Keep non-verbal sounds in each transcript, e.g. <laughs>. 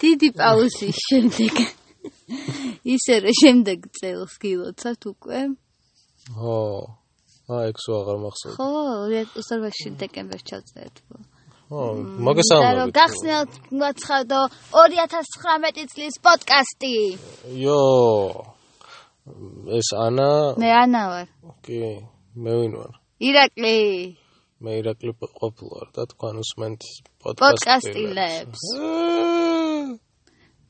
დიდი პაუზის შემდეგ ისე რომ შემდეგ წელს გილოცავთ უკვე. ო. აა ექსო აღარ მახსოვს. ხო, 2008-ში დეკემბერში ჩავწერეთ. ო, მაგას და რომ ამბობ. გახსნათ მოაცხადო 2019 წლის პოდკასტი. იო. ეს ანა, მე ანა ვარ. კი, მე ვინ ვარ? ირაკლი მე ირაკლი ყოფილი ვარ და თქვენ უსმენთ პოდკასტილებს. აა,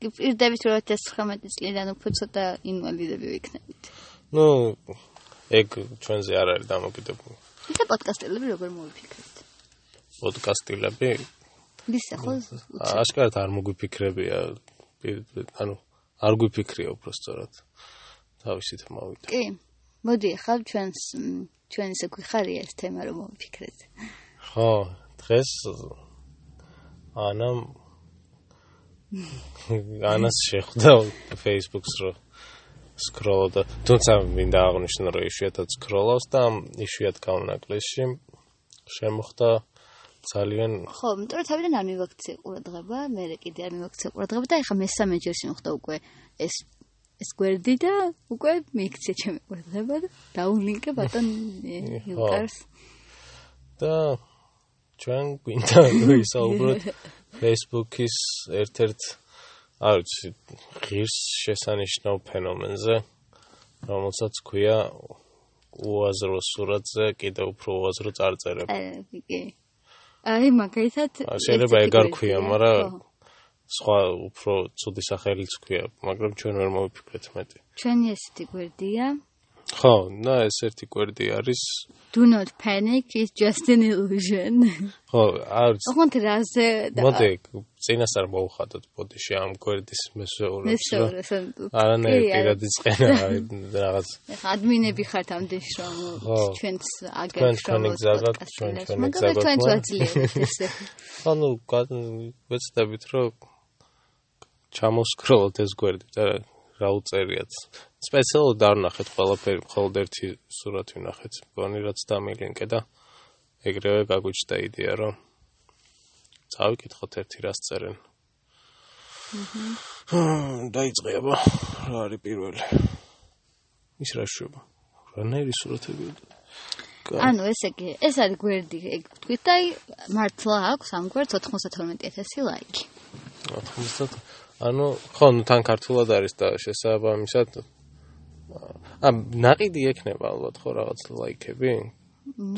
კი, პირდებით რომ 2019 წლიდან უფრო ცოტა ინვალიდები ვიქნებით. ნუ ეგ ჩვენზე არ არის დამოკიდებული. და პოდკასტელები როგორ მოვიფიქრეთ? პოდკასტილები ვისა ხო? აშკარად არ მოგვიფიქრებია. პირ- ანუ არ გვიფიქრია უფრო სწორად. თავისით მოვიდა. კი. მოდი ახლა ჩვენს მ, ჩვენ ისე გვიხარია ეს თემა რომ მოვიფიქრეთ. ხო, დღეს ანამ ანას შეხვდა Facebook-ს რო სკროლობდა. თუმცა მინდა აღნიშნო, რომ იშვიათად სკროლავს და ამ იშვიათ გამონაკლისში შემოხდა ძალიან ხო, იმიტომ რომ თავიდან არ მივაქცე ყურადღება, მე კიდე არ მივაქცე ყურადღება და ეხლა მესამე ჯერში მოხდა უკვე ეს ეს გვერდი და უკვე მიიქცია ჩემი ყურადღება და დაულინკე <laughs> ბატონ ე, იუკარს. და ჩვენ გვინდა <laughs> ვისაუბროთ Facebook-ის ერთ-ერთ არ ვიცი ღირს შესანიშნავ ფენომენზე, რომელსაც ჰქვია უაზრო სურათზე კიდევ უფრო უაზრო წარწერება. აი, კი. აი, მაგალითად ა, შეიძლება ეგ არ ერთი ქვია, გვერდია, მაგრამ ხო. სხვა უფრო ცუდი სახელიც ქვია, მაგრამ ჩვენ ვერ მოვიფიქრეთ მეტი. ჩვენი ესეთი გვერდია. ხო, და ეს ერთი კვერდი არის Do not panic, it's just an <laughs> illusion. ხო, არ ვიცი ოღონდ რაზე და მოდი წინას არ მოვხადოთ ბოდიში ამ გვერდის მესეურებს რომ მესოვრეს ან არანაირი კი, არა. პირადი წყენა არ- რაღაც ეხა ადმინები ხართ ამდენში რომ ხო. ჩვენს აგებს თქვენ რომ თქვენი მოწყოთ გზაგავთ, პოდკასტს ჩვენ და- თქვენი მაგრამ გზაგავთ, თქვენ მაგრამ- გვაძლიერებთ <laughs> ესე ანუ გა- ვეცდებით რომ ჩამოსკროლოთ ეს გვერდი და რა უწერიათ სპეციალურად არ ნახეთ ყველაფერი მხოლოდ ერთი სურათი ვნახეთ მგონი რაც დამილინკე და ეგრევე გაგვიჩნდა იდეა რომ წავიკითხოთ ერთი რას წერენ ჰმ, დაიწყება რა არის პირველი ის რა შვება რანაირი სურათებია კა- ანუ ესე იგი ეს არის გვერდი ეგ თქვით და აი, მართლა აქვს ამ გვერდს 92000 ლაიკი 90 ანუ ხო, ნუ თან ქართულად არის და შესაბამისად ა ნაყიდი ექნება ალბათ ხო რაღაც ლაიქები?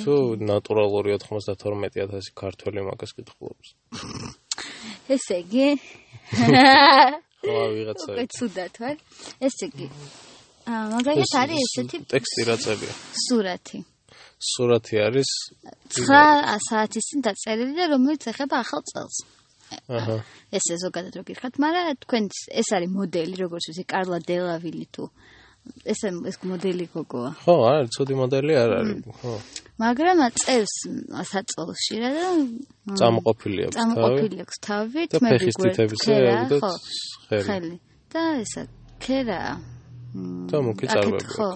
თუ ნატურალური 92000 ქართველი მაგას კითხულობს. ესე იგი ხო, აი, ვიღაცა უკვე ცუდად ვარ ესე იგი აა, მაგალითად არის ესეთი ტექსტი რა წებია. სურათი სურათი არის 9 საათის წინ დაწერილი და რომელიც ეხება ახალ წელს აჰა. ესე ზოგადად რო გიხართ, მაგრამ თქვენ ეს არის მოდელი, როგორც ვიცი, კარლა დელავილი თუ ეს ეს მოდელი გოგოა. ხო, არის ცუდი მოდელი არ არის. ხო, მაგრამ აწევს м, საწოლში რა და м, წამოყოფილი აქვს თავი Mm. წამოყოფილი აქვს თავი, და თმები ფეხის გვერდს თითებზე ქერა, უდოთ ხო, ხელი. ხელი და ესა ქერა. м, და მუქი აქეთ, წარბები ხო,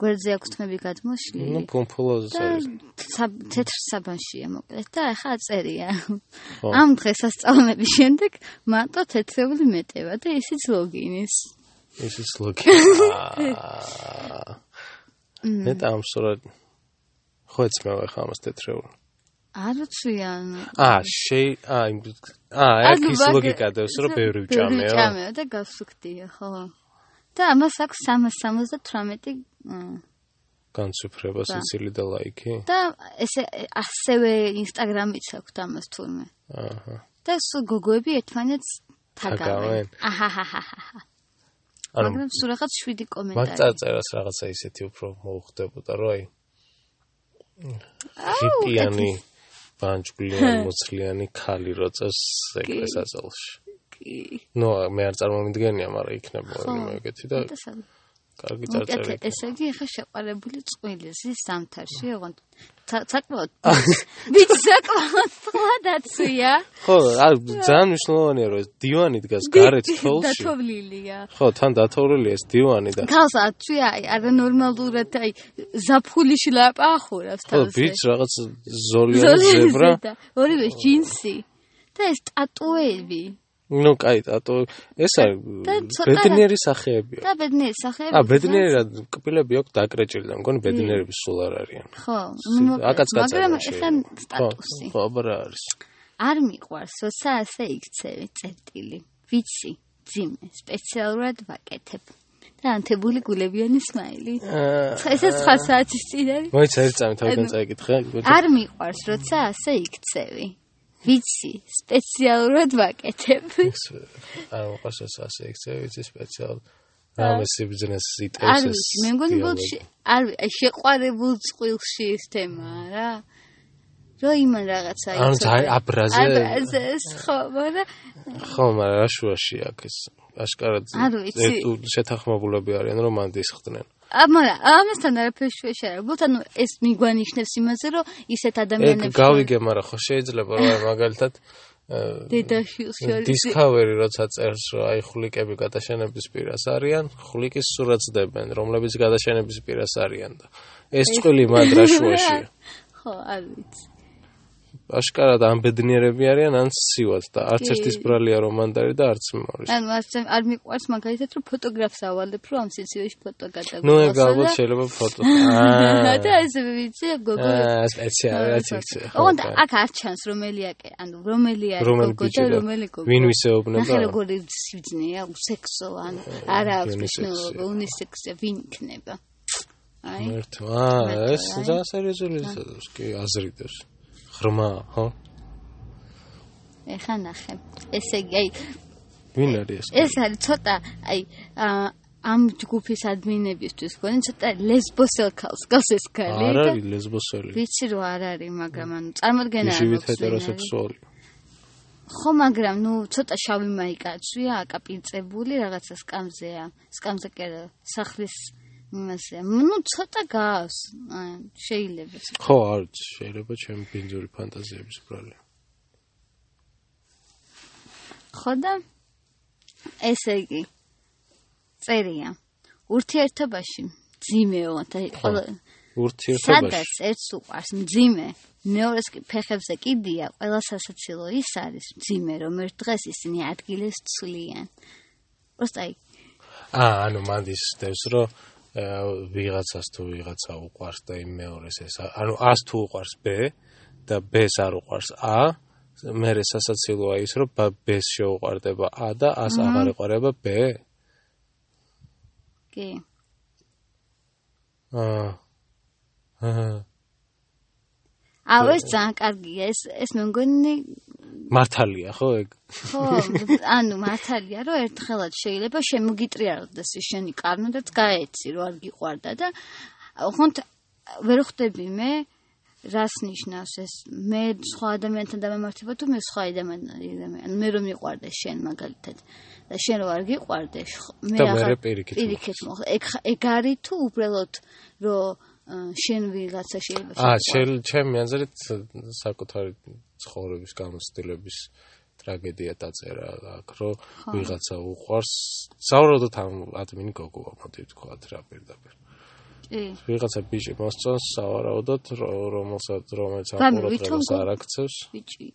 გვერდზე აქვს თმები გადმოშლილი. ნუ პომპულოზს და არის. საბ- თეთრ საბანშია მოკლედ და ახლა აწერია. ხო. ამ დღესასწაულების შემდეგ მარტო თეთრეული მეტევა და ისიც ლოგინის. This is looking. ნეტა ამ სურათ ხო ეცმევა ხა ამას თეთრეულ. არ ვიცი ან აა, შეი, აა, იმ აა, ეგ ანუ ის მაგ- ლოგიკა დევს, რომ ბევრი ვჭამეო. ვჭამეო და გავსუქდიო, ხო. და ამას აქვს 378 მ, განცვიფრება სიცილი და ლაიქი. და ესე ასევე ინსტაგრამიც აქვს ამას თურმე. აჰა. და სულ გოგოები ერთმანეთს თაგავენ. თაგავენ. აჰაჰაჰა. ანუ მაგრამ სულ რაღაც 7 მაგ კომენტარი. წაწერას რაღაცა ისეთი უფრო მოუხდებოდა, რომ აი აუ, ჰიპიანი ბანჯგვლიანი მოცლიანი ქალი რო წევს ეკლესაზალში. კი. ნუ მე არ წარმომიდგენია, მაგრამ იქნება ხო. მე ეგეთი და და სამ- კარგი უკეთე, წარწერა. ესე იგი ხა შეყარებული წყვილის სამთარში, ოღონდ ცა- <laughs> საკმაოდ ვიცი საკმაოდ თვადაცია. ხო, არ ძალიან მნიშვნელოვანია რომ ეს დივანი დგას გარეთ თოლში. დათოვლილია. ხო, თან დათორილი ეს დივანი და გავს აწვი აი არანორმალურად აი ზაფხულიში ლაპახურავს ხო, თავზე. ბიჭ რაღაც ზოლიანი ზებრა. ორივე ჯინსი და ეს ტატუები. ну, кай, тато ეს და არის ცოტა რა- ბედნიერი სახეებია. და ბედნიერი სახეები. ა ბედნიერად კპილები აქვს დაკრეჭილი და მგონი ბედნიერები სულ არ არიან. ხო, აკაც მოკლედ, კაცაა. მაგრამ ეხლა შეიძლება. ხო, სტატუსი. ხო, აბა რა არის. არ მიყვარს, როცა ასე იქცევი წერტილი. ვიცი, ძიმე, სპეციალურად ვაკეთებ. და ანთებული გულებიანი სმაილი. აა ესე 9 საათის წინ არის. მოიცა ერთ წამი თავიდან ანუ- წაიკითხე. არ მიყვარს, როცა ასე იქცევი. ვიცი, სპეციალურად ვაკეთებ. არ მოყავს ეს ასე ექცევი, იცი სპეციალ რამე სიბრძნეს იტევს ეს. არ ვიცი, მე მგონი ბოლში არ ვი- აი, შეყვარებულ წყვილში ეს თემაა რა. რო იმან რაღაცა ანუ ძაი აბრაზე აბრაზე ეს ხო, მაგრამ ხო, მაგრამ რა შუაში აქვს ეს? აშკარად არ ვიცი. ერთულ შეთანხმებულები არიან, რომ მან დისხდნენ. ამალა ამასთან არაფერი შეშ არ არის. ანუ ეს მიგვანიშნებს იმაზე, რომ ისეთ ეგ ადამიანებს გავიგე, მაგრამ ხო შეიძლება რა მაგალითად აა, დედაში უსიალის Discovery როცა წერს, რომ აი ხვლიკები გადაშენების პირას არიან, ხვლიკის სურათდებენ, რომლებიც გადაშენების პირას არიან და ეს წვილი მადრაშუაში. <laughs> ხო, არ ვიცი. აშკარად ამ ბედნიერები არიან ან სივად და არც კი. ერთის ბრალია რომ ანდარი და არც მორის. ანუ არც ამ- არ მიყვარს მაგალითად, რომ ფოტოგრაფს ავალებ, რომ ამ სიცივეში ფოტო გადაგვიყვანს. ნუ ეგ ალბათ <laughs> შეიძლება ფოტო. და აა ესე ვიცი, გოგო აა, სპეციალურად იქცე. ოღონდ აქ არ ჩანს რომელი აკე, ანუ რომელი არის რომელი გოგო და ბიჭი და რომელი გოგო. ვინ ვისეუბნება? ნახე როგორი სიბძნეა, უსექსო, ანუ არა აქვს მნიშვნელობა, უნისექსია ვინ იქნება. აი, მერტო. აა მერტო, ეს აი. ძალიან სერიოზული ისაა, კი, აზრიდებს. ღრმა, ხო? ეხა ნახე. ესე იგი, აი, ვინ არის ეს? ეს არის ცოტა, აი, აა, ამ ჯგუფის ადმინებისთვის გონი ცოტა ლესბოსელქალს გავს ეს ქალი. არ და არის ლესბოსელი. ვიცი რომ არ არის, მაგრამ ანუ წარმოდგენა არ ჟივით მაქვს, ვინ არის. ჰეტეროსექსუალი. ხო, მაგრამ ნუ ცოტა შავი მაიკაცვია, აკაპინწებული, რაღაცა სკამზეა. სკამზე კი არა, სახლის იმასე. ნუ ცოტა გავს, აი, შეიძლება. ხო, არ ვიცი, შეიძლება ჩემი ბინძური ფანტაზიების ბრალი. ხო და ესე იგი წერია. ურთიერთობაში ძიმეოთ, აი, ყველა სადაც ურთიერთობაში. ერთს უყარს მძიმე, მეორეს კი ფეხებზე კიდია, ყველა სასაცილო ის არის მძიმე, რომ ერთ დღეს ისინი ადგილეს ცვლიან. просто აი აა, ანუ მან ისდევს, რომ აა, ვიღაცას თუ ვიღაცა უყვარს და იმ მეორეს ეს, ა- ანუ ას თუ უყვარს ბ და ბს არ უყვარს ა, მერე სასაცილოა ის, რომ ბა- ბს შეუყვარდება ა და ას აღარ ეყვარება ბ. კი აა. აა. აუ ეს ძალიან კარგია. ეს ეს მე მგონი მართალია, ხო ეგ? ხო, ანუ მართალია, რომ ერთხელაც შეიძლება შემოგიტრიალდეს ის შენი კარნო და გაეცი, რომ არ გიყვარდა და ოღონდ ვერ ხვდები მე რას ნიშნავს ეს მე სხვა ადამიანთან დამემართება თუ მე სხვა ადამიანთან ანუ მე რომ მიყვარდეს შენ მაგალითად და შენ რომ არ გიყვარდეს ხო, მე და აღარ- მერე პირიქით პირიქით მოხდა ეგ ხა- ეგ არის თუ უბრალოდ რომ აა, შენ ვიღაცა შეიძლება აა, შეგიყვარდეს? შე- ჩემი აზრით საკუთარი ცხოვრების გამოცდილების ტრაგედია დაწერა აქ, რომ ვიღაცა უყვარს, საუბრობთ ამ ადმინ გოგოა, მოდი ვთქვათ რა პირდაპირ. კი ვიღაცა ბიჭი მოსწონს სავარაუდოდ, რო- რომელსაც რომელიც გამი, ვითომ ყურადღებას გო- არ აქცევს. ბიჭი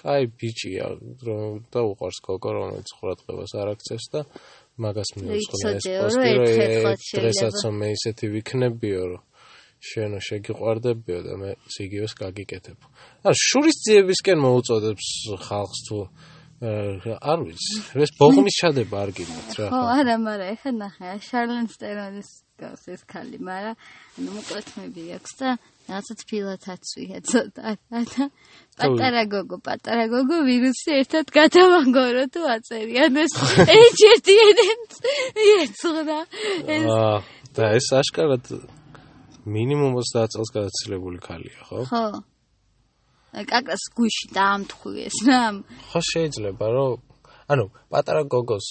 კაი ბიჭია, რომ და უყვარს გოგო, რომელიც ყურადღებას არ აქცევს და მაგას მიუძღვნა ეს იცოდეო, პოსტი, რომ რომ ერთ-ერთ ე- ხალხს შეიძლება. დღესაც მე ისეთი ვიქნებიო, რომ შენო შეგიყვარდებიო და მე იგივეს გაგიკეთებ. ან შურისძიებისკენ მოუწოდებს ხალხს თუ აა, არ ვიცი, ეს ბოღმის ჩადება არ გინდათ რა. ხო, არა, მაგრამ ეხა ნახე, აი, შარლენ სტერონის გავს ეს ქალი, მაგრამ ანუ მოკლედ მეები აქვს და რაღაცა თბილათაცვია ცოტა და პატარა გოგო, პატარა გოგო ვირუსი ერთად გადავანგორო თუ აწერიან ეს ერთ-ერთი ენებს ეცხრა. ეს აა, და ეს აშკარად მინიმუმ 30 წელს გადაცილებული ქალია, ხო? ხო. აი, კაკას გუში დაამთხვიეს რა. ამ- ხო შეიძლება რომ ანუ პატარა გოგოს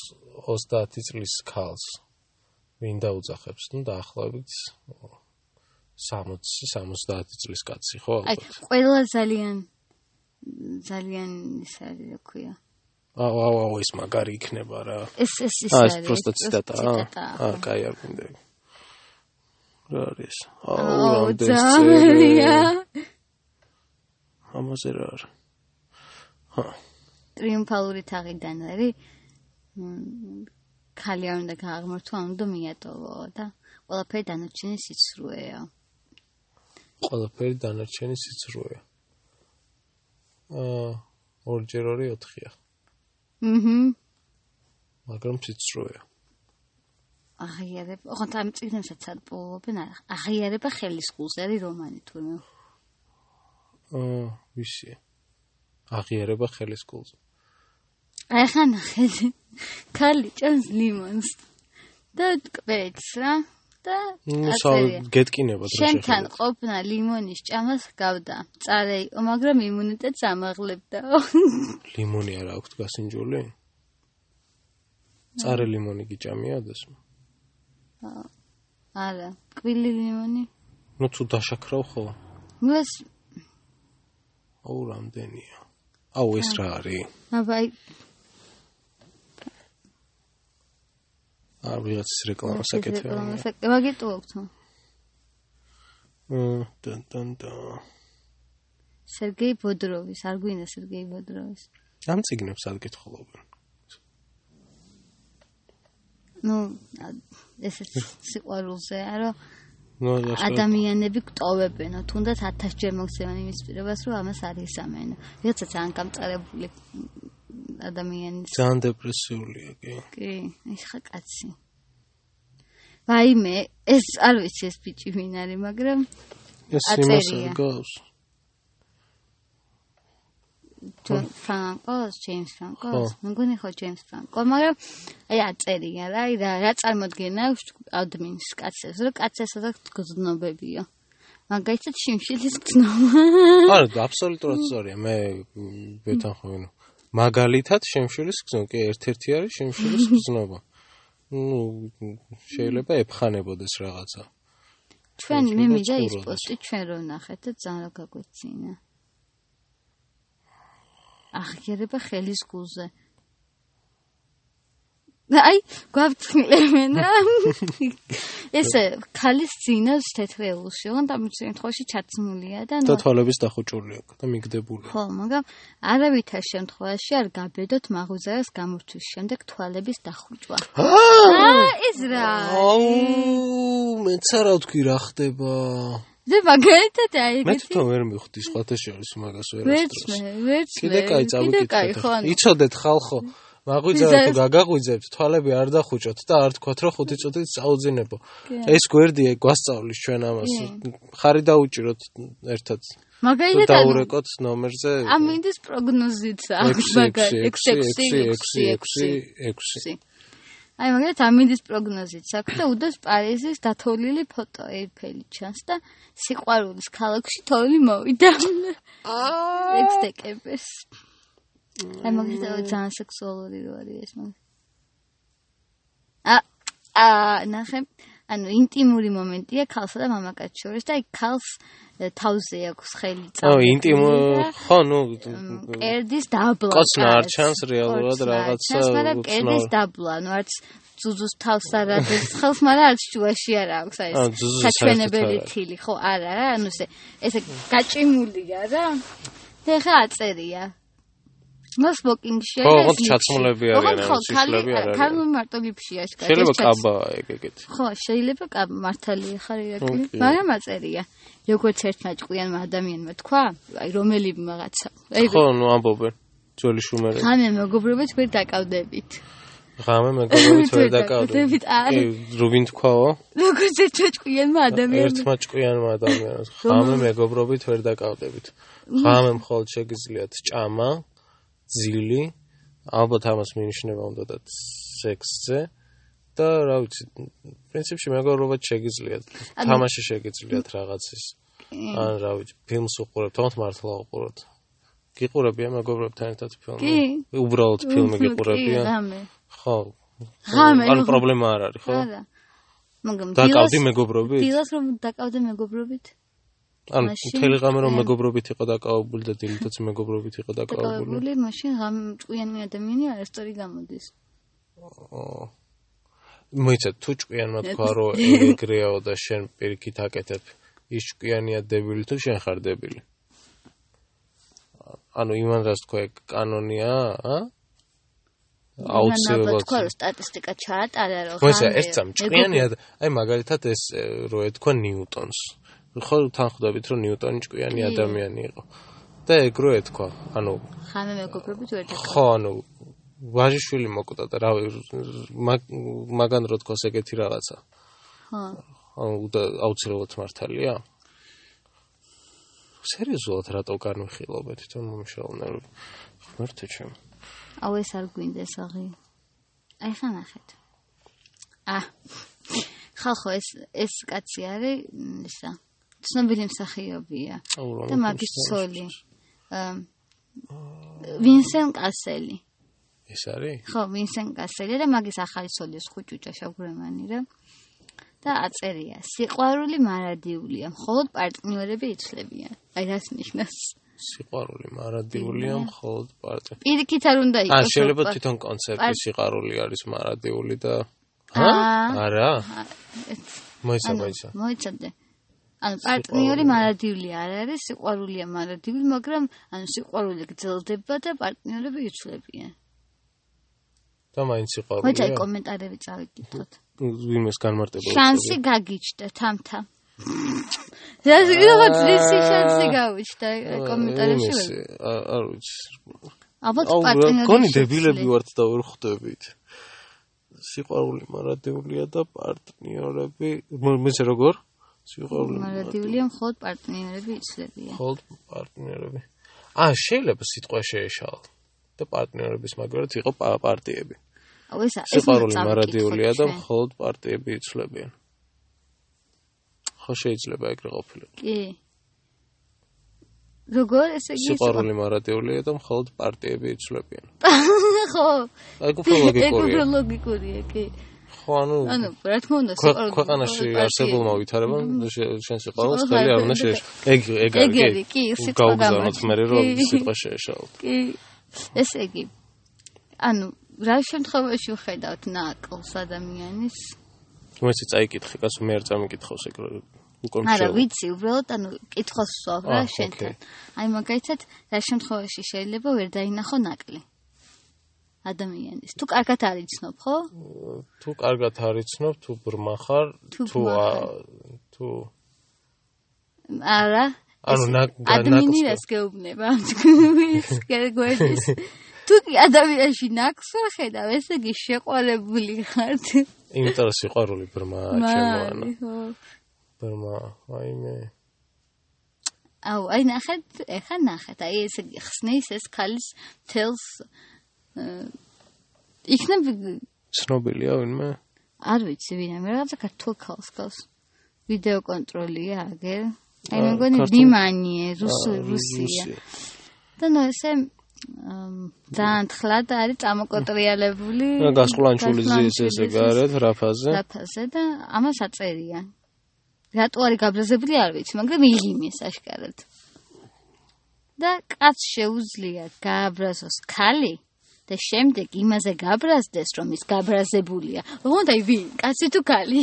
30 წლის ქალს ვინ დაუძახებს ნუ დაახლოებით 60-70 წლის კაცი ხო აი, ალბათ ყველა ძალიან ძალიან ის არის, რა ქვია. აუ აუ აუ ეს მაგარი იქნება რა ეს ეს ის აა არის. ეს პროსტა ციტატაა ციტატაა, ხო. აა კაი არ გინდები რა არის ეს? აუ აუ, რამდენი ძამერია. ამაზე რა არის ჰა ტრიუმფალური თაღიდან არის. მ, ქალი არ უნდა გააღმართო, არ უნდა მიატოვო და ყველაფერი დანარჩენი სიცრუეა. ყველაფერი დანარჩენი სიცრუეა. აა 2x2 4-ია, აჰა. მაგრამ სიცრუეა. აღიარება, ხო თან წიგნებსაც ატბულობენ, არა, აღიარება ხელისყულს არის რომანი თურმე. აა ვისი? აღიარება ხელისკულს. აი ხა ნახეთ. ქალი ჭამს ლიმონს და კვეთს რა და ნუ აწერია. გეტკინება დრო შენთან ყოფნა ლიმონის ჭამას გავდა. წარე იყო, მაგრამ იმუნიტეტს ამაღლებდაო. ლიმონი არ აქვს გასინჯული? წარე ლიმონი გიჭამიადეს? არა, კვილი ლიმონი. ნუ თუ დაშაქრავ ხოლმე. მას აუ რამდენია? აუ ეს რა არის? აბა აი, არ ვიღაცის რეკლამას აკეთებენ. რეკლამასაკეთებენ. მაგიტულობთ. მ, ტან ტან ტან. სერგეი ბოდროვის, არ გვინდა სერგეი ბოდროვის. ამ ციგნებს არ გითხულობენ. ну ესეც სიყვარულზეა რომ ნუ რა ადამიანები გტოვებენო თუნდაც 1000 ჯერ მოგცემენ იმის პირობას რომ ამას არ ისამენო რაღაცა ძალიან გამწარებული ადამიანის ძალიან დეპრესიულია კი. კი ის ხა კაცი ვაიმე ეს არ ვიცი ეს ბიჭი ვინ არის მაგრამ ეს იმას არ აწერია. გავს. ჯონ ფრანკოს, ჯეიმს ფრანკოს, ხო. მგონი ხო ჯეიმს ფრანკო, მაგრამ აი აწერია რა, აი რა, რა წარმოდგენა აქვს ადმინს კაცებს, რომ კაცებს აქვს გზნობებიო. მაგალითად შიმშილის გზნობა. <laughs> არა, აბსოლუტურად სწორია. მე მ, ვეთანხმები. ნუ. მაგალითად, შემშილის გზნობა კი ერთ-ერთი არის შემშილის გზნობა. ნუ შეიძლება ეფხანებოდეს რაღაცა. ჩვენ მე შეიძლება მიდა ის ცხოვრობდეს. პოსტი ჩვენ რომ ნახეთ და ძალიან რა გაგვეცინა. აღიერება ხელის გულზე. აი, გვაფრთხილებენ რა. ესე ქალის ძინავს თეთრეულში, ოღონდ ამ შემთხვევაში ჩაცმულია და და ნუ თვალების დახუჭული აქვს და მიგდებული. ხო, მაგრამ არავითარ შემთხვევაში არ გაბედოთ მაღუზარას გამორთვის შემდეგ თვალების დახუჭვა. აა, ეს რა? აუ, მეც არა ვთქვი რა ხდება. და მაგალითად აი მე ეგეთი თვითონ ვერ მივხვდი სხვათა შორის მაგას ვერც ვერასდროს. მე, ვერც მე. კიდე კაი კიდე კაი, წავიკითხეთ. ხო, ახლა. ანუ იცოდეთ ხალხო, მაგვიძარეთ თუ ვიზა- გაგაღვიძებთ, თვალები არ დახუჭოთ და არ თქვათ რომ ხუთი წუთით წაუძინებო. ეს გვერდია გვასწავლის ჩვენ ამას. ხარი დაუჭიროთ ერთად. და მაგალითად ანუ დაურეკოთ ნომერზე ამინდის პროგნოზიც აქვს 6 მაგალითად 666 6 აი მაგალითად ამინდის პროგნოზიც აქვს და უდოს პარიზის დათოლილი ფოტო ეიფელი ჩანს და სიყვარულის ქალაქში თოვლი მოვიდა 6 დეკემბერს აი მაგალითად ძალიან სექსუალური რო არის ეს მაგ ა ა ნახე ანუ ინტიმური მომენტია ქალსა და მამაკაცს შორის და აი ქალს ე, თავზე აქვს ხელი ო წამებული ინტიმო და- ხო ნუ კერდის დაბლა. კოცნა არ კაც. ჩანს რეალურად კოცნა არ რაღაცა ჩანს, მაგრამ უცნაური. კერდის დაბლა, ანუ არც ძუძუს თავს არ ადეს ხელს, მაგრამ არც შუაში არ აქვს აი აა, ეს ძუძუს საერთოდ საჩვენებელი არ არის. თილი, ხო, არა რა, ანუ ესე ესე გაჭიმულია რა. და ხა აწერია. ნუ სმოკინგში ხო, არის. ოღონდ ჩაცმულები არიან, ანუ სიშლები არ არის. ქალი მარტო ლიფშია შკა. შეიძლება კაბაა ეგ ეგეთი ხო, შეიძლება კაბ მართალი ხარ ირაკლი, ოკეი. მაგრამ აწერია. როგორც ერთმა ჭკვიანმა ადამიანმა თქვა, აი რომელიმე რაღაცა. აი ხო ნუ ამბობენ ძველი შუმერები ღამე მეგობრობით ვერ დაკავდებით. ღამე მეგობრობით ვერ ვერ დაკავდებით, დაკავდებით. არა. კი, რო ვინ თქვაო? <laughs> როგორც ეჩოჭკიანმა ადამიანმა. ერთმა ჭკვიანმა <laughs> ადამიანს ღამე მეგობრობით ვერ დაკავდებით. ღამე მხოლოდ შეგიძლიათ ჭამა, ძილი, ალბათ ამას მინიშნება უნდა და სექსზე და რა ვიცი, პრინციპში მეგობრობა შეგიძლიათ, თამაში შეგიძლიათ რაღაცის. ან რა ვიცი, ფილმს უყურებთ, თუმცა მართლა უყურებთ. გიყურებიან მეგობრებთან ერთად ფილმი. კი. უბრალოდ ფილმი კი, გიყურებიან. ღამე. ხო. ღამე, ანუ ხო. პრობლემა არ არის, ხო? არა. მაგრამ დაკავდი დილას- მეგობრობით? დილას რომ დაკავდე მეგობრობით? ან მაშინ მთელი ღამე რომ ჭკვიან. მეგობრობით იყო დაკავებული და დილითაც მეგობრობით იყო დაკავებული. დაკავებული, მაშინ ღამე ჭკვიანი ადამიანი არასწორი გამოდის. მოიცა თუ ჭკვიანმა თქვა რომ ეგ ეგრეაო და შენ პირიქით აკეთებ, ის ჭკვიანია დებილი თუ შენ ხარ დებილი. ანუ იმან რას თქვა ეგ კანონია, ა? აუცილებლად აუცილებლად. თქვა რომ სტატისტიკა ჩაატარა რომ მოიცა ხანია. ეს სამ ჭკვიანია, და- აი მაგალითად ეს ე, რო ეთქვა ნიუტონს. ხო თანხდებით რომ ნიუტონი ჭკვიანი კი. ადამიანი იყო. და ეგ რო ეთქვა, ანუ ხამე მეგობრობით ვერ დაკავ ხო, ანუ ვაჟიშვილი მოკვდა და რავი მაგ- მაგან რო თქოს ეგეთი რაღაცა. ხო აუ და აუცილებლად მართალია? სერიოზულად რატო განვიხილობ თვითონ მომშევნელი? ღმერთო ჩემო. აუ ეს არ გვინდეს აღი აი ხანახეთ ა ხალხო ეს ეს კაცი არის მ, ისა ცნობილი მსახიობია აუ რა და მოგვიწევს. მაგის ცოლი ამ, ვინსენ კასელი ეს არის? ხო ვინსენ კასელი და მაგის ახალი ცოლის ხუჭუჭა შაგურემანი რა და აწერია სიყვარული მარადიულია მხოლოდ პარტნიორები იცლებიან აი რას ნიშნავს სიყვარული მარადიულია მხოლოდ პარტი. პირიქით არ უნდა ა იყოს შეიძლება უბრალოდ. თვითონ კონცერტი პარ- სიყარული არის მარადიული და აა? არა ა, ეს- მოიცა ანუ, მოიცა მოიცადე. ანუ პარტნიორი მარადიული არ არის, სიყვარულია მარადიული, მაგრამ ანუ სიყვარული გრძელდება და პარტნიორები იცვლებიან. და მაინც მოიცა სიყარულია კომენტარები წავიკითხოთ. იმის განმარტება შანსი გაგვიჩნდა თამთა. რას რაღაც რისი შანსი გავიჩნდა უწევია. აა, კომენტარებში? იმის, ვერ- აა, არ ვიცი ალბათ აუ რა, პარტნიორები გონი შეცვლი- დებილები ვართ და ვერ ხვდებით სიყვარული მარადიულია და პარტნიორები მო- მეც როგორ სიყვარული მარადიულია მხოლოდ პარტნიორები იცვლებიან. მხოლოდ პარტნიორები ა შეიძლება სიტყვა შეეშალა და პარტნიორების მაგალითად იყო პა- პარტიები აუ ესა ეს სიყვარული უნდა მარადიულია და წავიკითხოთ ჩვენ. მხოლოდ პარტიები იცვლებიან. ხო შეიძლება ეგრე ყოფილიყო. კი. როგორ ესე იგი სიყვარული მარადიულია და მხოლოდ პარტიები იცვლებიან. ხო აი უფრო ლოგიკურია. ეკოლოგიკურია კი ხო, ანუ ანუ რა თქმა უნდა ქვე- სიყვარული ქვეყანაში პარტია. არსებულმა ვითარებამ შე- შენ სიყვარულს სიყვარულს ხელი არ არ უნდა უნდა შეეშ. ეგ ეგ არის. ეგ არის, კი, სიტყვა გავგზავნოთ გამოდის. მე რომ კი. სიტყვა შეეშალოთ. კი ესე იგი ანუ რა შემთხვევაში ვხედავთ ნაკლს ადამიანის მოიცი წაიკითხე, გასულ მე არ წამიკითხავს ეგ რა- უკვე არა მშევ. ვიცი უბრალოდ ანუ კითხოს ვსვავ რა აა, შენთან ოკეი. აი მაგალითად რა შემთხვევაში შეიძლება ვერ დაინახო ნაკლი ადამიანის თუ კარგად არ იცნობ ხო თუ კარგად არიცნობ, თუ ბრმა ხარ, თუ თუ ბრმა აა, ხარ. თუ არა ანუ ეს ნაკ- და ადამიანი ნაკლს- რას გეუბნება ამ <laughs> თქმის გერგვერდის თუ კი ადამიანში ნაკს ვერ ხედავ ესე იგი შეყვარებული ხართ იმიტომ რომ სიყვარული ბრმა ჩემო ანუ მარი ხო ბრმა აი მე აუ აი ნახეთ ეხა ნახეთ აი ესე იგი ხსნის ეს ქალის თელს იქნებ ცნობილია ვინმე არ ვიცი ვინმე რაღაცა ქართულ ქალს გავს ვიდეო კონტროლია აგერ აი მე მგონი ქართულ- დიმანიე რუსი აა, რუსია და ნუ ესე ამ, ძალიან თხლად არის წამოკოტრიალებული რა გასყლანჩული ძის ესე გასყლანჩული გარეთ რაფაზე ლაფაზე და ამას აწერია რატო არის გაბრაზებული არ ვიცი მაგრამ იგიმეს აშკარად და კაც შეუძლია გააბრაზოს ქალი და შემდეგ იმაზე გაბრაზდეს რომ ის გაბრაზებულია ოღონდ აი ვინ კაცი თუ ქალი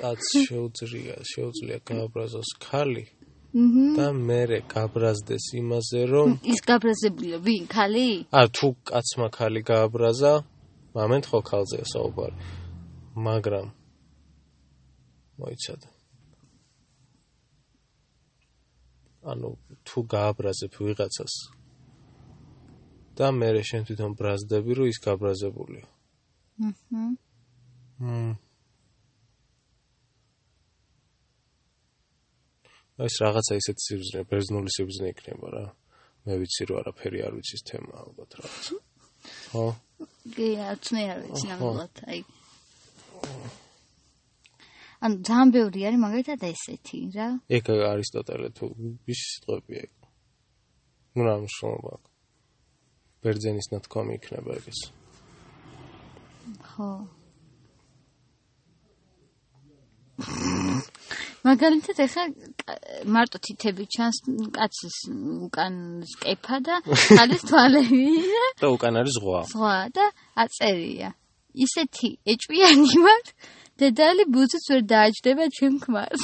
კაც შეუძლია შეუძლია გააბრაზოს ქალი მჰმ. და მერე გაბრაზდეს იმაზე რომ ის გაბრაზებულია ვინ ქალი ა თუ კაცმა ქალი გააბრაზა მომენტ ხო ქალზეა საუბარი მაგრამ მოიცადე ანუ თუ გააბრაზებ ვიღაცას და მე შენ თვითონ ბრაზდები რომ ის გაბრაზებულია მჰმ. მმ ეს რაღაცა ისეთ სიბზნე, ბერძნული სიბზნე იქნება რა. მე ვიცი რომ არაფერი არ ვიცის თემა ალბათ რა. ხო? კი, არცნე არ ვიცი ხო. ნამდვილად, აი. ანუ ძალიან ბევრი არის მაგალითად ესეთი რა. ეგ არისტოტელე თუ ის სიტყვებია ეგ. ნუ რა მნიშვნელობა აქვს? ბერძენის ნათქვამი იქნება ეგ ეს. ხო. მაგალითად ახლა მარტო თითები ჩანს მ, კაცის მ, უკან სკეფა და ქალის თვალები და და უკან არის ზღვა. სხვა და აწერია. ისეთი ეჭვიანი ვარ, დედალი ბუზიც ვერ დააჯდება ჩემ ქმარს.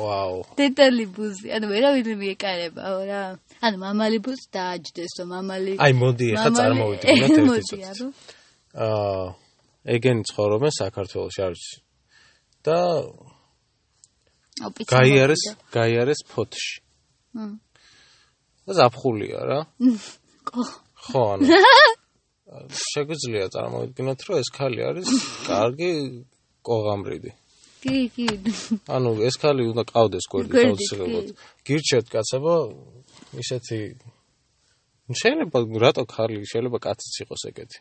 ვაუ. დედალი ბუზი, ანუ ვერავინ მიეკარებაო რა. ან მამალი ბუს დააჯდეს და მამალი აი მოდი ეხა მამალი- <laughs> წარმოვიდგინოთ ე, ერთი მოდი, წუთი. არო. აა ეგენი ცხოვრობენ საქართველოს არჩი. და აუ, პიცი გაიარეს, მოვიდა. გაიარეს ფოთში. მმ. და ზაფხულია რა. კო ხო, ანუ შეგვიძლია წარმოვიდგინოთ, რომ ეს ხალი არის კარგი ყოღამრიდი. კი კი ანუ ეს ხალი უნდა ყავდეს გვერდით გვერდით, აუცილებლად. გირჩევთ კაცებო, ისეთი შეიძლება რატო ხალი, შეიძლება კაციც იყოს ეგეთი.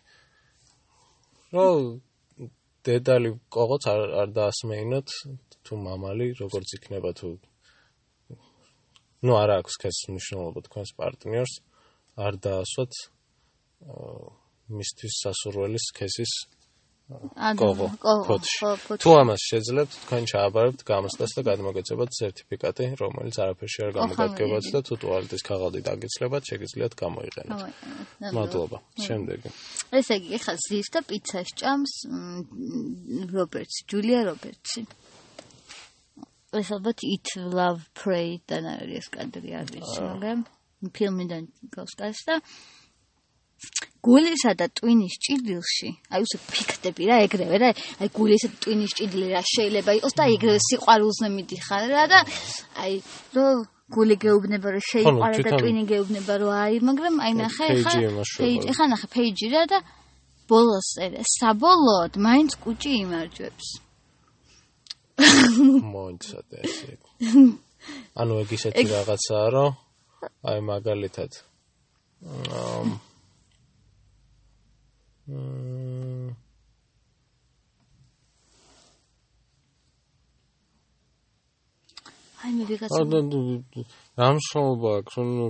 რომ დედალი ყოღოც არ არ დაასმეინოთ თუ მამალი როგორც იქნება თუ ну არა აქვს ეს მნიშვნელობა თქვენს პარტნიორს არ დაასვათ აა, მისთვის სასურველის სქესის კოღო ფოთში. თუ ამას შეძლებთ, თქვენ ჩააბარებთ გამოცდას და გადმოგეცემთ სერტიფიკატი, რომელიც არაფერში არ გამოგადგებათ და თუ ტუალეტის ქაღალდი დაგეცლებათ, შეგიძლიათ გამოიყენოთ. მადლობა. <laughs> შემდეგი. ესე იგი ეხლა ზის და პიცას ჭამს მ, რობერტსი ჯულია რობერტსი ეს ალბათ it love pray და არის ეს კადრი არის მაგრამ ფილმიდან გასკას და გულისა და ტვინის ჭიდილში აი უს ფიქრდები რა ეგრევე რა აი გულისა და ტვინის ჭიდილი რა შეიძლება იყოს და ეგრევე სიყვარულზე მიდიხარ რა და აი რომ გული გეუბნება რომ შეიყვარე და თვითონ- ტვინი გეუბნება რომ აი მაგრამ აი ნახე Page-ი ხა იმას შვება. page- ხა ნახე page რა და ბოლოს წერე საბოლოოდ მაინც კუჭი იმარჯვებს მოიცადე ესე. ანუ ეგ ისეთი რაღაცაა, რომ აი მაგალითად ამ <laughs> მ, აი მე ვიღაც აა, და- და- და- რამშობა აქვს ნუ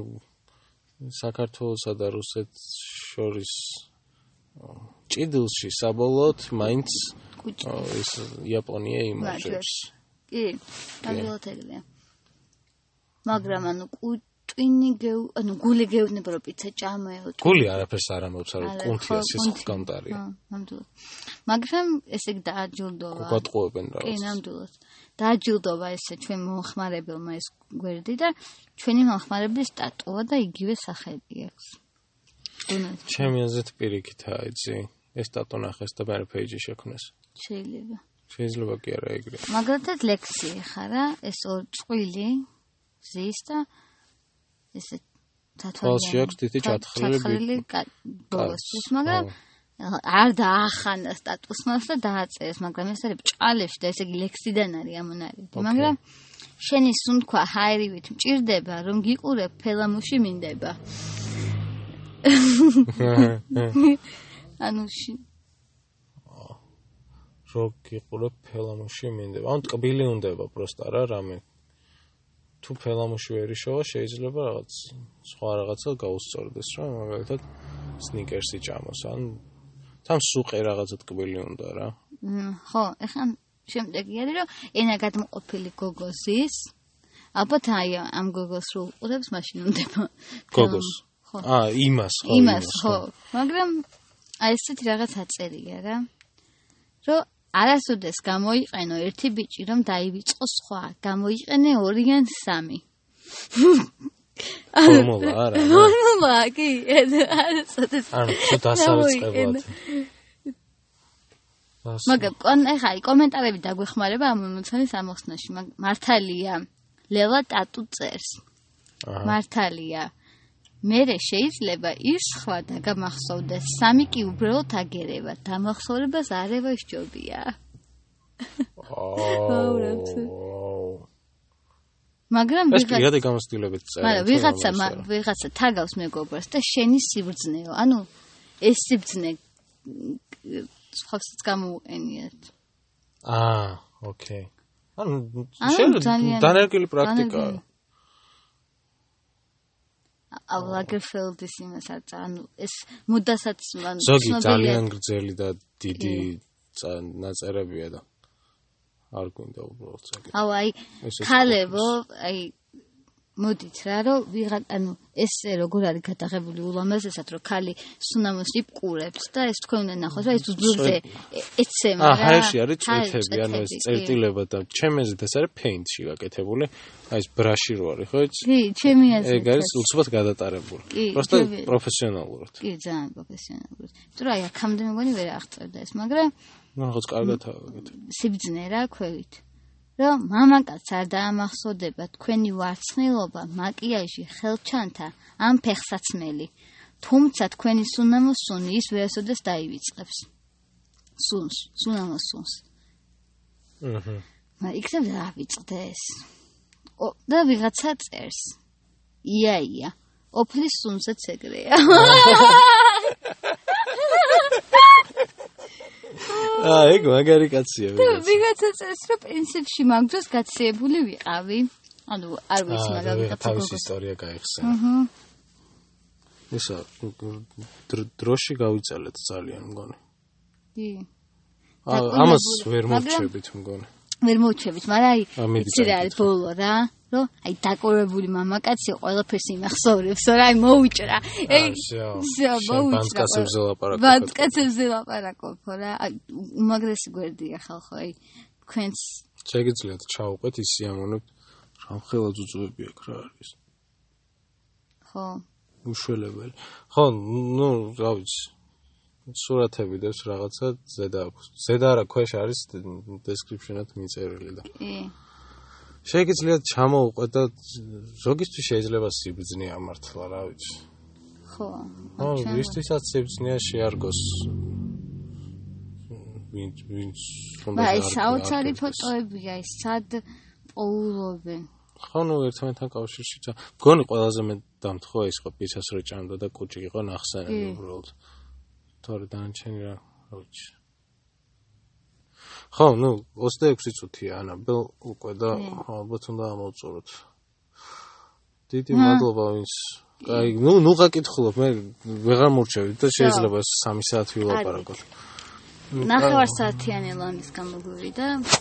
საქართველოსა და რუსეთს შორის აა, ჭიდილში საბოლოოდ მაინც კუჭი აა, ეს იაპონია იმარჯვებს. მარჯვებს. კი ამბოლოთ ეგრეა მაგრამ ანუ კუჭინი გეუ ანუ გული გეუბნება რომ პიცა ჭამეო გული არაფერს არ ამბობს, არ არა, კუნთია ხო, სისხლს კუნთი. გამტარია. ჰა, ნამდვილად. მაგრამ ესე იგი დააჯილდოვა გვატყუებენ კი, რა. ნამდვილად. დააჯილდოვა ესე ჩვენ მომხმარებელმა ეს გვერდი და ჩვენი მომხმარებლის სტატუა და იგივე სახელი აქვს. დონალდ ჩემი აზრით პირიქითაა, იცი? ეს სტატო ნახეს და მე პეიჯი შექმნეს. შეიძლება. შეიძლება კი არა ეგრე. მაგალითად ლექსი ხარა, ეს ორ წყვილი ზის და ესე თვალში აქვს თითი ჩათხრილი ბი- ჩათხრილი კა- ბოლოს კაცი. ის, მაგრამ აუ. არ დაახანა სტატუსმას და დააწერეს, მაგრამ ეს არის ბჭალებში და ესე იგი ლექსიდან არის ამონარიდი, ოკეი. მაგრამ შენი სუნთქვა ჰაერივით მჭირდება, რომ გიყურებ ფელამუში მინდება. <laughs> ანუ შ- რო გიყურებ ფელამუში მინდება. ან ტკბილი უნდება პროსტა რა რამე. თუ ფელამუში ვერ იშოვა, შეიძლება რაღაც სხვა რაღაცა გაუსწორდეს რა, მაგალითად სნიკერსი ჭამოს, ან თან სუყე რაღაცა ტკბილი უნდა რა. მ, ხო, ეხლა შემდეგი არის რომ ენაგად მოყოფილი გოგოზის ალბათ აი ამ გოგოს რო უყურებს მაშინ უნდება გოგოს. ხო. აა, იმას, ხო, იმას ხო, მაგრამ აი ესეთი რაღაც აწერია რა. რომ არასოდეს გამოიყენო ერთი ბიჭი, რომ დაივიწყო სხვა, გამოიყენე ორი ან სამი. <laughs> ფორმულა არა. რა. ნორმა, კი, ეს არასოდეს ანუ თუ <laughs> დასავიწყებლად. დას- მაგრამ კონ ეხა აი კომენტარები დაგვეხმარება ამ მომცემის ამოხსნაში მაგ- მართალია ლელა ტატუ წერს აჰა. მართალია მერე შეიძლება ის სხვა და გამახსოვდეს სამი კი უბრალოდ აგერევა დამახსოვრებას არევა სჯობია <laughs> აუ, რა ვიცი. აუ. მაგრამ ეს ვიღაც პირადი გამოცდილებით წერა. მაგრამ ვიღაცა მა- ვიღაცა თაგავს მეგობრს და შენი სიბრძნეო ანუ ეს სიბრძნე მ, კ- სხვასაც გამოუყენიათ აა, ოკეი. Ah, ანუ ანუ შეიძლება ძალიან- დანერგილი პრაქტიკაა. დანერგილი. აუ ლაგერფელდის იმას არ წა ანუ ეს მუდასაც მან ზოგი ცნობილია. ძალიან გრძელი და დიდი წა- ნაწერებია და არ გვინდა უბრალოდ წერა. აუ აი ეს ეს ქალებო, აი მოდით რა რომ ვიღან ანუ ესე როგორ არის გადაღებული ულამაზესაც რომ ქალი სუნამოს იპკურებს და ეს თქვენ უნდა ნახოთ რა ეს უძულზე ეცემა აა რა Ah, ჰაერში არის ჰაერი, წვეთები, ანუ ეს წვეთები, კი. წერტილება და ჩემ აზრით ეს არის ფეინტში გაკეთებული. აი ეს ბრაში რო არის, ხო იცი? კი ჩემი აზრით ეგ არის უცბად გადატარებული. კი, просто ჩემი- პროფესიონალურად. კი ძალიან პროფესიონალურად იმიტომ რომ აი აქამდე მეგონი ვერ აღწევდა ეს მაგრამ ну, რაღაც კარგად აკეთებს. სიბძნე რა ქვევით რომ მამაკაც არ დაამახსოვდება თქვენი ვარცხნილობა მაკიაჟი ხელჩანთა ამ ფეხსაცმელი თუმცა თქვენი სუნამოსუნი ის ვერასოდეს დაივიწყებს სუნს სუნამოსუნს აჰა. მაგრამ იქნებ რა ვიწყდე ეს ო, და ვიღაცა წერს ია ია ოფლის სუნსაც <laughs> ეგრეა აა, ეგ მაგარი კაცია. და ვიღაც. ვიღაცა წერს რომ პრინციპში მაგდროს გაციებული ვიყავი ანუ არ აა, ვიცი და მაგრამ ვიღაც ვიღაცა თავის გოგოს ისტორია გაიხსენა. აჰა. ისა დრო- დროში გავიწელეთ ძალიან მგონი. კი აა, დაკუნებული, ამას ვერ მაგრამ- მოვჩებით მგონი. ვერ მოვჩებით, მაგრამ აი ამერიკა იცი რა არის ეკითხა. ბოლო რა, რომ აი დაკორებული მამაკაცი ყველაფერს იმახსოვრებს, რომ აი მოვიჭრა. აა, ზეო, ზეო, შენ მოვიჭრა. ბანსკაცებზე ლაპარაკობ, ბანსკაცებზე ლაპარაკობ რა. აი უმაგრესი გვერდია ხალხო, აი თქვენს შეგიძლიათ ჩაუყვეთ ის სიამონებ რამხელა ძუძუები აქ რა არის. ხო, უშველებელი. ხო, ну, რა ვიცი. სურათები დევს რაღაცა ზედა აქვს. ზედა არა, ქვეშ არის description-ად მიწერილი და კი. შეგიძლიათ ჩამოუყვეთ და ზოგისთვის შეიძლება სიბრძნე ამართლა, რა ვიცი. ხო. ხო, ჩვენ- ვისთვისაც სიბრძნეა შეარგოს. ვინც ვინც უნდა მაგრამ აი შეარგოს, საოცარი აკეთებს. ფოტოებია, ეს სად პოულობენ. ხო, ნუ ერთმანეთთან კავშირში ჩა. მგონი ყველაზე მე დამთხოვა ის ხო პისას რო ჭამდა და კუჭი იყო ნახსენები კი. უბრალოდ. თორე დანარჩენი რა, რა ვიცი. ხო, ნუ 26 წუთია ანაბელ უკვე და ალბათ უნდა ამოვწუროთ. დიდი მადლობა ვინც აი, ნუ ნუ გაკითხულობ, მე ვეღარ მურჩევი და შეიძლება 3 საათი ვილაპარაკოთ. ნახევარ საათიანი ლამის გამოგვივიდა და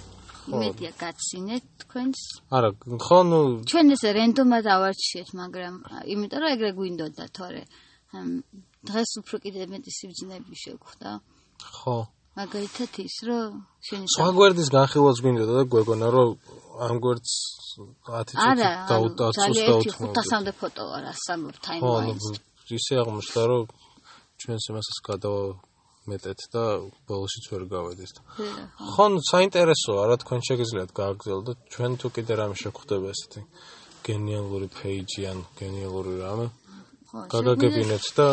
იმედია გაცინეთ თქვენს არა, ხო, ნუ ჩვენ ესე რენდომად ავარჩიეთ, მაგრამ ა, იმიტომ რომ ეგრე გვინდოდა თორე. ამ, დღეს უფრო კიდე მეტი სიბძნები შეგხვდა. ხო. მაგალითად ის რომ შენი სხვა გვერდის განხილვაც გვინდოდა და გვეგონა რომ ამ გვერდს 10 სა- არა, წუთი დაუწუს ძალიან ერთი დაუთმობ. 500-მდე ფოტოა რა, სამობ ხო, ტაიმლაინს. ანუ ისე აღმოჩნდა რომ ჩვენს იმასაც გადავამეტეთ და ბოლოშიც ვერ გავედით. ხო, ნუ საინტერესოა რა თქვენ შეგიძლიათ გააგრძელოთ. ჩვენ თუ კიდე რამე შეგხვდება ესეთი გენიალური ფეიჯი ან გენიალური რამე ხო, გაგაგებინეთ და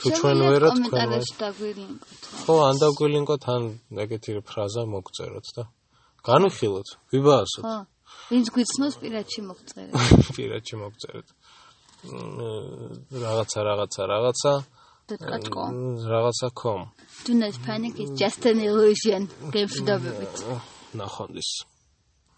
თუ ჩვენ ვერა თქვენ ვერ კომენტარებში დაგვილინკოთ. ხო, ან დაგვილინკოთ ან ეგეთი ფრაზა მოგწეროთ და განვიხილოთ, ვიბაასოთ. ხო. ვინც გვიცნობს პირადში მოგწერე. <laughs> პირადში მოგწერეთ. მ, რაღაცა რაღაცა რაღაცა .com რაღაცა.com Do not panic, it's just an illusion. გემშვიდობებით. ნახონ ის